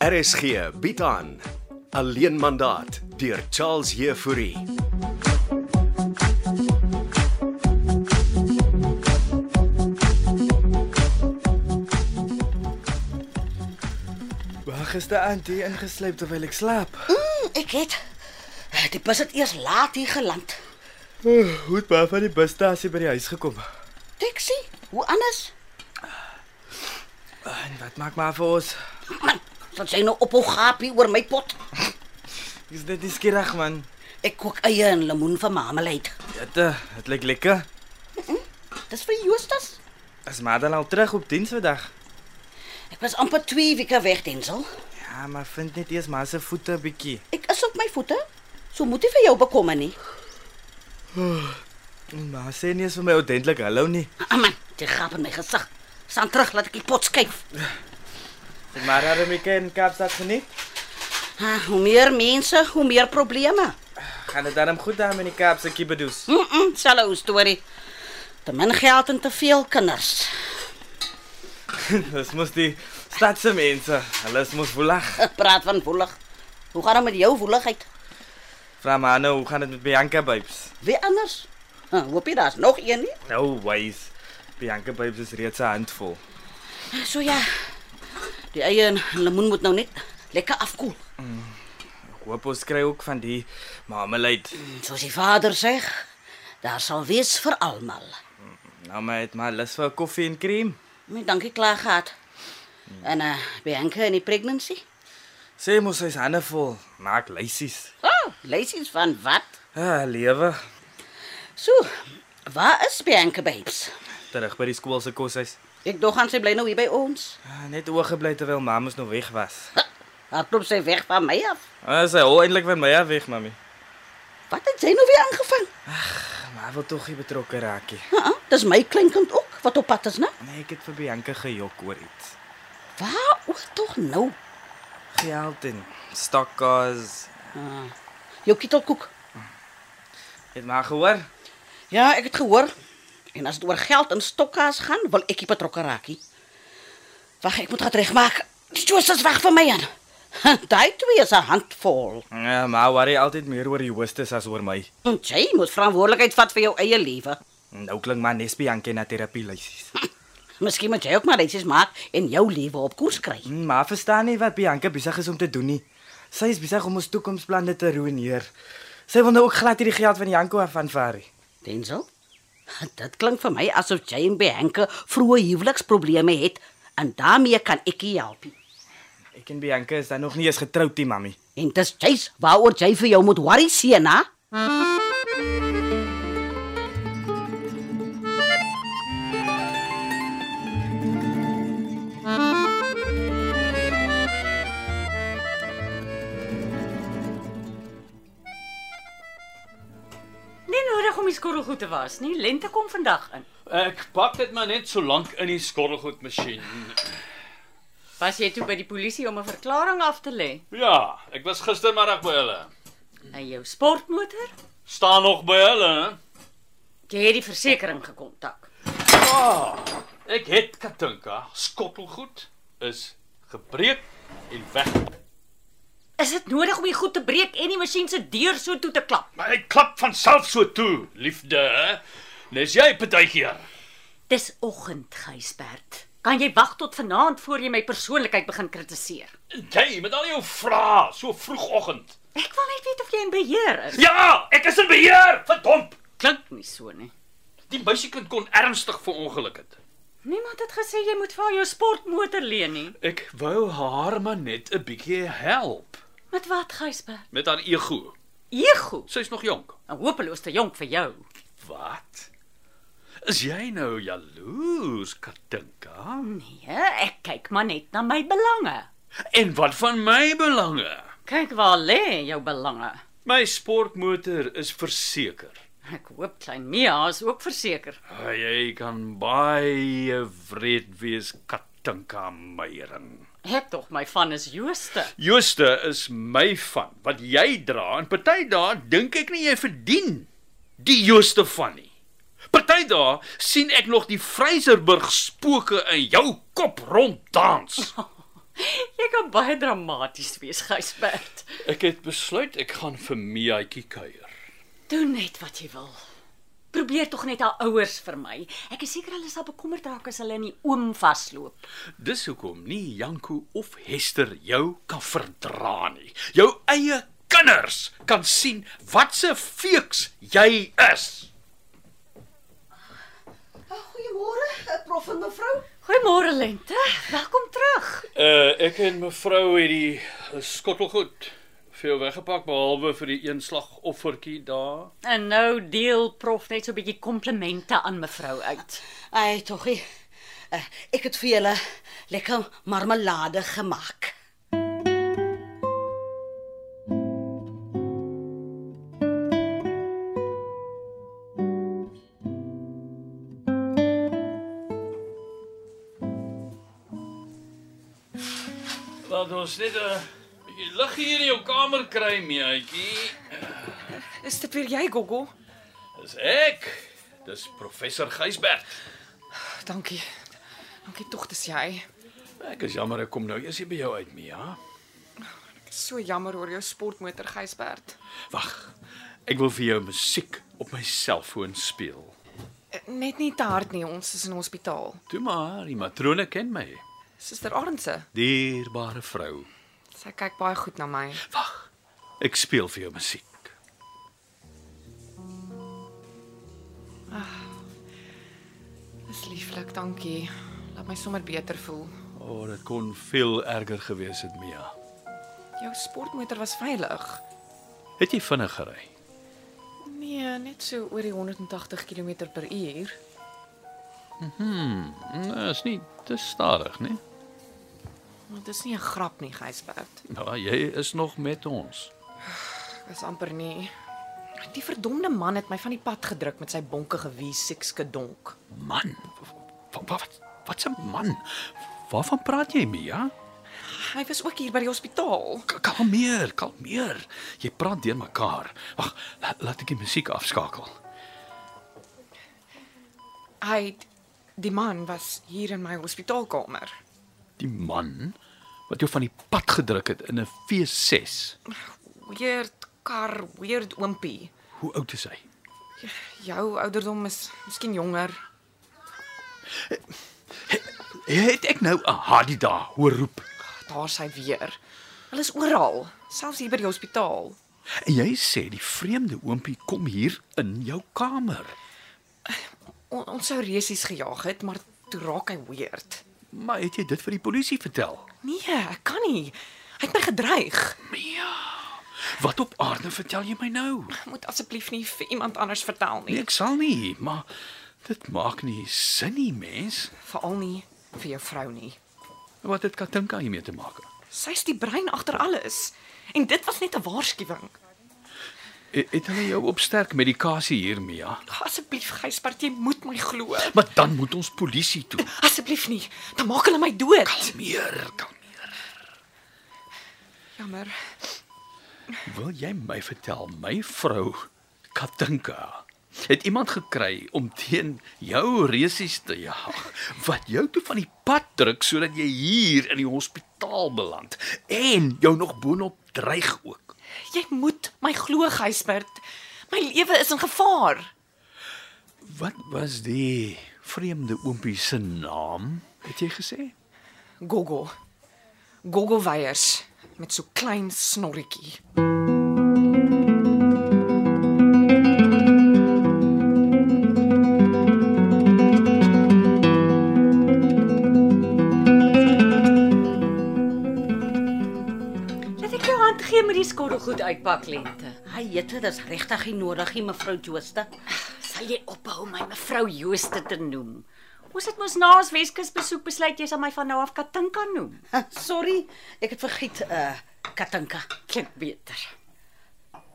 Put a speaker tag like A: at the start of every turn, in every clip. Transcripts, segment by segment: A: RSG bied aan Alleen mandaat deur Charles Heffouri.
B: Waar gisteraand hier ingeslyp terwyl ek slaap.
C: Ek het die bus het eers laat hier geland.
B: Hoe het baie van die busstasie by die huis gekom.
C: Taxi? Hoe anders?
B: En wat maak maar vir ons?
C: Man, wat jy nou op hou gaapie oor my pot?
B: Is dit nie skierig man?
C: Ek kook eie en lemoen vir marmelade.
B: Dit eh, dit lyk lekker.
C: Dis vir Justus.
B: Is Madan al terug op diens vandag?
C: Ek was amper 2 weke weg, Denzel.
B: Ja, maar vind net eers maar se voete 'n bietjie.
C: Ek is op my voete. So moet jy vir jou bekommer nie.
B: En Maar Mm, sê nie eens vir my ordentlik hallo nie.
C: Ah, man, jy gaap in my gesig. Staan terug, laat ek die pot skuif.
B: Het Maar het my ken Kaapstad geniet.
C: Ha, Ah, hoe meer mense, hoe meer probleme.
B: Gaan dit darm goed daar met die Kaapse kibedoes?
C: Mm, -mm selfs storie. Te min geld en te veel kinders.
B: Dis mos die stadse mense. Hulle is mos voelig.
C: Ek praat van woelig. Hoe gaan dit met jou woeligheid?
B: Vra maar nou, hoe gaan dit met Bianca Babes?
C: Wie anders? Ah, hoop jy daar's nog een nie?
B: Nou, wys. Bianca Babes is reeds 'n handvol.
C: So ja. Die eie en lemoen moet nou net lekker afkoel.
B: Ek hoop ons kry ook van die marmelade.
C: Soos die vader sê, daar sal wees vir almal.
B: Nou maar het maar lus vir koffie en krem.
C: My dankie klaar gehad. En eh uh, Bianca in die pregnancy?
B: Sê mos hy's handevol, maak lysies.
C: Oh, leesies van wat?
B: Ah, lewe.
C: So, waar is Bianca babes?
B: Terug by die skool se koshuis.
C: Ek dog gaan sy bly nou hier by ons.
B: Ah, Net oorgebly terwyl mamma nog weg was.
C: Huh, Haar klop sy weg van my af.
B: Ah, sy hol eintlik van my af weg, mami.
C: Wat het sy nou weer aangevang?
B: Maar wil tog nie betrokke raakie.
C: Uh -uh, dis my kleinkind ook wat op pad is, né?
B: Nee, ek het vir Bianca gejok oor iets.
C: Waaroor tog nou?
B: Geld en stokkas.
C: Ah, jou kietelkoek.
B: Het maar gehoor.
C: Ja, ek het gehoor. En as dit oor geld en stokkaas gaan, wil ek nie betrokke raak nie. Wag, ek moet dit regmaak. Die Joos is weg van my aan. Daai twee is 'n handvol.
B: Ja, maar worry altyd meer oor die hoestes as oor my.
C: En Jy moet verantwoordelikheid vat vir jou eie lewe.
B: Nou klink maar nes Bianca na terapie lysies.
C: Miskien moet jy ook maar ietsie maak en jou lewe op koers kry.
B: Mm, Maar verstaan nie wat Bianca besig is om te doen nie. Sy is besig om ons toekomsplanne te ruïneer. Sy wil nou ook glad hierdie geld van Janko af van Ferry.
C: Denzel? Dit klink vir my asof jy en Bianca vroeë huweliksprobleme het en daarmee kan ek jou help. nie.
B: Ek en Bianca is dan nog nie eens getroud nie, mami.
C: En dis juis waaroor jy vir jou moet worry, seun, hè?
D: Nie nodig om die skorrelgoed te was nie. Lente kom vandag in.
E: Ek pak dit maar net so lank in die skorrelgoedmasjien.
D: Was jy toe by die polisie om 'n verklaring af te lê?
E: Ja, ek was gistermiddag by hulle.
D: En jou sportmotor?
E: Staan nog by hulle. hè?
D: Jy het die versekerings gekontak.
E: Ah, Ek het Katinka skottelgoed is gebreek en weg.
D: Is dit nodig om die goed te breek en die masjien se deur so toe te klap?
E: Maar ek klap van self so toe, liefde. hè? Nes jy partykeer.
D: Dis oggend, Gysbert. Kan jy wag tot vanaand voor jy my persoonlikheid begin kritiseer?
E: Jy met al jou vrae so vroegoggend.
D: Ek wil net weet of jy in beheer is.
E: Ja, ek is in beheer, verdomp.
D: Klink nie so nie.
E: Die meisiekind kon ernstig verongeluk het.
D: Niemand het gesê jy moet vir haar jou sportmotor leen nie.
E: Ek wou haar maar net 'n bietjie help
D: Met wat, Gysbert?
E: met haar ego.
D: Ego.
E: Sy's nog jonk.
D: En hopeloos te jonk vir jou.
E: Wat? Is jy nou jaloers, Katinka?
D: Nee, ek kyk maar net na my belange.
E: En wat van my belange?
D: Kyk waar lê jou belange.
E: My sportmotor is verseker.
D: Ek hoop klein Mia is ook verseker.
E: Ah, Jy kan baie wreed wees, Katinka Meyering.
D: Ek tog my van is Jooste.
E: Jooste is my van wat jy dra en party dae dink ek nie jy verdien die Jooste van nie. Party dae sien ek nog die Vryserburg spooke in jou kop ronddans.
D: Jy kan baie dramaties wees, Gysbert.
E: Ek het besluit ek gaan vir Miaatjie kuier.
D: Doen net wat jy wil. Probeer tog net haar ouers vir my. Ek is seker hulle sal bekommerd raak as hulle in die oom vasloop.
E: Dis hoekom nie Janko of Hester jou kan verdra nie. Jou eie kinders kan sien wat se feeks jy is.
C: Goeiemôre, eh, prof en mevrou.
D: Goeiemôre Lente. Welkom terug.
E: Uh ek en mevrou het die skottelgoed vir jou weggepak behalwe vir die eenslag offertjie daar.
D: En nou deel prof net so 'n bietjie komplimente aan mevrou uit.
C: Ai, togie. Eh, Ek het vir julle lekker marmelade gemaak.
E: Laat ons net eh, 'n bietjie lig hier in jou kamer kry, meetjie.
F: Is dit weer jy, Gogo?
E: Dis ek. Dis professor Gysbert.
F: Dankie. Dankie tog dis jy.
E: Ek is jammer ek kom nou eers hier by jou uit, Mia.
F: Ek is so jammer oor jou sportmotor, Gysbert.
E: Wag. Ek wil vir jou musiek op my selfoon speel.
F: Net nie te hard nie, ons is in hospitaal.
E: Toe maar, die matrone ken my.
F: Suster Arendse,
E: Dierbare vrou.
F: sy kyk baie goed na my.
E: Wag. Ek speel vir jou musiek.
F: Dis lieflik, dankie. Laat my sommer beter voel.
E: O, oh, dit kon veel erger gewees het, Mia.
F: Jou sportmotor was veilig.
E: Het jy vinnig gery?
F: Nee, net so oor die 180 km/h.
E: Nee, is nie te stadig, nee.
F: Maar dis nie 'n grap nie, Gysbert.
E: Ja, jy is nog met ons.
F: Ek was amper nie. Die verdomde man het my van die pad gedruk met sy bonkige W6 kedonk.
E: Man. Wat wat wat 'n man. Waarvan praat jy, Mia?
F: Hy was ook hier by die hospitaal.
E: K- Kalmeer, kalmeer. Jy praat deur mekaar. Wag, la, laat ek die musiek afskakel.
F: Hy die man was hier in my hospitaalkamer.
E: Die man wat jou van die pad gedruk het in 'n V6.
F: Weird kar, weird oompie.
E: Hoe oud is hy?
F: Jou ouderdom is miskien jonger.
E: Het ek nou 'n Hadida hoor roep?
F: Daar sy weer. Hulle is oral, selfs hier by die hospitaal.
E: En jy sê die vreemde oompie kom hier in jou kamer.
F: On, ons sou resies gejaag het, maar toe raak hy weird.
E: Maar het jy dit vir die polisie vertel?
F: Nee, ek kan nie. Hy het my gedreig.
E: Ja. Wat op aarde vertel jy my nou?
F: Ek moet asseblief nie vir iemand anders vertel
E: Nee,
F: nie,
E: ek sal nie, maar dit maak nie sin nie, mens.
F: veral nie vir jou vrou nie.
E: Wat dit Katinka hiermee te maak.
F: Sy's die brein agter alles. En dit was net 'n waarskuwing.
E: Het, E, het hulle jou op sterk medikasie hier, Mia?
F: Asseblief, Gysbert, jy moet my glo.
E: Maar dan moet ons polisie toe.
F: Asseblief nie, dan maak hulle my dood.
E: Meer, kalmeer.
F: Jammer.
E: Wil jy my vertel my vrou Katinka het iemand gekry om teen jou resies te jaag wat jou toe van die pad druk sodat jy hier in die hospitaal beland en jou nog boonop dreig ook.
F: Jy moet my glo, Gysbert. My lewe is in gevaar.
E: Wat was die vreemde oompie se naam? Het jy gesê?
F: Gogo. Gogo Weyers met so klein snorretjie.
D: Laat ek jou hand gee met die skottelgoed uitpak Lente.
C: Ai, jette, dis regtig nie nodig nie, mevrou Jooste.
D: Sal jy ophou my mevrou Jooste te noem? Ons het mos na ons Weskus besoek besluit jy sal my van nou af Katinka noem.
C: Ha, Eh, Sorry, ek het vergiet eh Katinka.
D: Klink beter.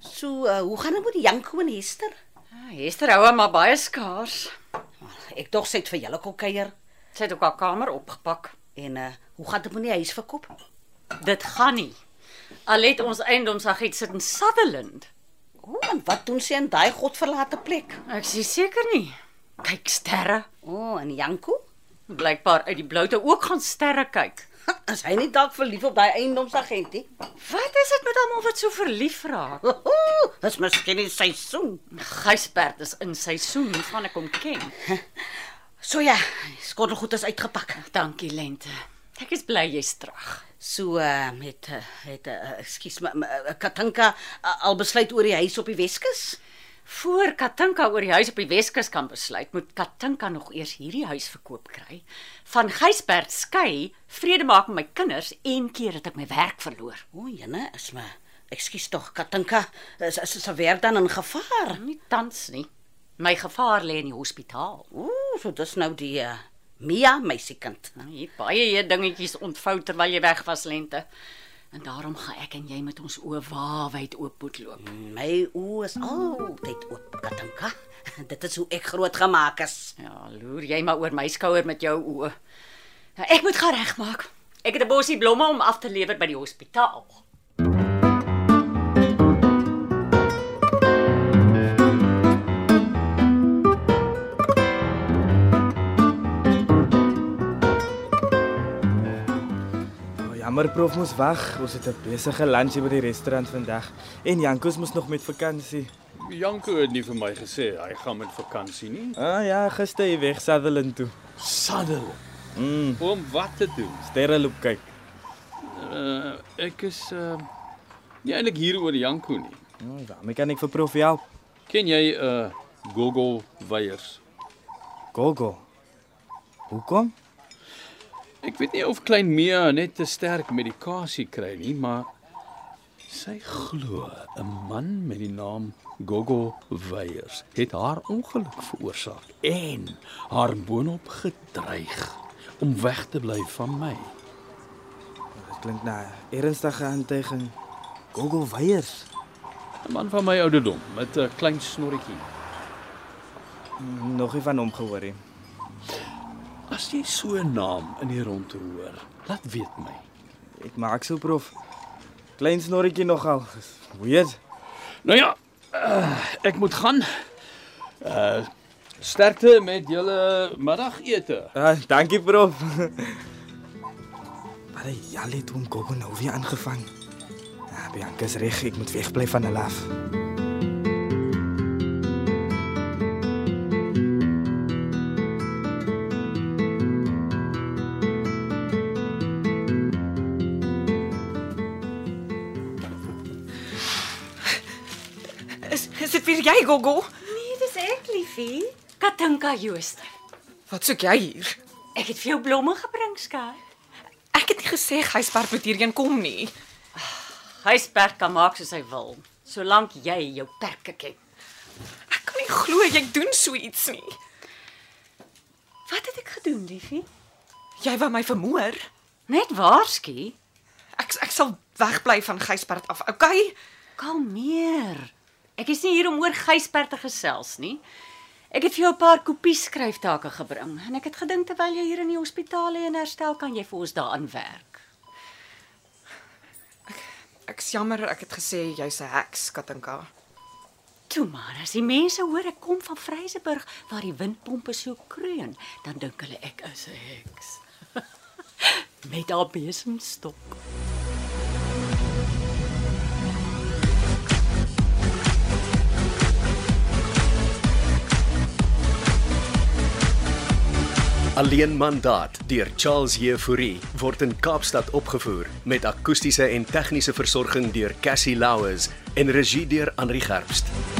C: So, eh, hoe gaan dit met die Janko en Hester?
D: Ah, Hester hou hom maar baie skaars.
C: Ek dog sê dit vir julle kom kuier.
D: Sy het ook haar kamer opgepak.
C: En eh hoe gaan dit met die huis verkoop?
D: Dit gaan nie. Al het ons eiendomsagent sit in Sutherland.
C: O, en wat doen sy in daai godverlate plek?
D: Ek is nie seker nie. Kyk sterre.
C: O, en Janko?
D: Blykbaar uit die bloute ook gaan sterre kyk.
C: Is hy nie dalk verlief op daai eiendomsagentie?
D: Wat is dit met almal wat so verlief raak?
C: Oho, Dis miskien die seisoen.
D: Gysbert is in seisoen, hoe gaan ek hom ken?
C: So ja, skottelgoed is uitgepak.
D: Dankie Lente. Ek is bly jy's terug.
C: So uh, met eh, het uh, ekskuus my uh, Katinka uh, al besluit oor die huis op die Weskus?
D: Voor Katinka oor die huis op die Weskus kan besluit, moet Katinka nog eers hierdie huis verkoop kry. Van Gysbert skei, vrede maak met my kinders en keer dat ek my werk verloor.
C: O, jene, is maar ekskuus tog Katinka, is is sy werk dan in gevaar?
D: Nie tans nie. My gevaar lê in die hospitaal.
C: Ooh, so dis nou die uh, Mia meisiekind.
D: Nou, Hier baie hier dingetjies ontvou terwyl jy weg was lente. En daarom gaan ek en jy met ons oë waawyd oop moet loop.
C: My oë is altyd oop, Katinka. Dit is hoe ek groot gemaak is.
D: Ja, loer jy maar oor my skouer met jou oë. Nou, Ek moet gaan regmaak. Ek het 'n bosie blomme om af te lewer by die hospitaal.
B: Oh, jammer prof moes weg. Ons het 'n besige lunch hier by die restaurant vandag en Jankos moes nog met vakansie.
E: Janko het nie vir my gesê hy gaan met vakansie nie.
B: Ah ja, gister hier weg Sutherland toe.
E: Saddel. Mm. Om wat te doen?
B: Sterreloop kyk.
E: Uh, ek is uh nie eintlik hier oor Janko nie.
B: Nou, daarmee kan ek vir prof help.
E: Ken jy uh Gogo Weyers?
B: Gogo. Hoekom?
E: Ek weet nie of klein Mia net te sterk medikasie kry nie, maar sy glo 'n man met die naam Gogo Weyers het haar ongeluk veroorsaak en haar boonop gedreig om weg te bly van my.
B: Dit klink na 'n ernstige aantuiging. Gogo Weyers.
E: 'n Man van my ouderdom met 'n klein snorretjie.
B: Nog nie van hom gehoor nie.
E: As jy so 'n naam in die rondte hoor, laat weet my.
B: Ek maak so prof. Klein snorretjie nogal. Dis Weird.
E: Nou ja, uh, ek moet gaan. Uh sterkte met julle middagete.
B: Ah, dankie prof. Maar ja, dit hom Gogo nou weer aangevang. Ah, Bianca is reg, ek moet wegbly van hulle af.
F: Is is dit weer jy, Gogo?
D: Nee, dis ek, liefie. Katinka Jooste.
F: Wat soek jy hier?
D: Ek het vir jou blomme gebring, skat.
F: Ek het nie gesê Gysbert moet hierheen kom nie.
D: Huisperd kan maak soos hy wil, solank jy jou perke ken.
F: Ek kan nie glo jy doen so iets nie.
D: Wat het ek gedoen, liefie?
F: Jy wou my vermoor.
D: Net waarsku.
F: Ek ek sal wegbly van Gysbert af. Okay?
D: Kalmeer. Ek is nie hier om oor Gysbert te gesels nie. Ek het vir jou 'n paar kopie skryftake gebring en ek het gedink terwyl jy hier in die hospitaal lê en herstel, kan jy vir ons daaraan werk.
F: Ek's jammer ek het gesê jy's 'n heks, Katinka.
D: Toe maar, as die mense hoor ek kom van Vryseburg waar die windpompe so kreun, dan dink hulle ek is 'n heks. Met haar besemstok.
A: Alleen mandaat deur Charles Jefouri word in Kaapstad opgevoer met akoestiese en tegniese versorging deur Cassie Louws en regie deur Henri Gerst.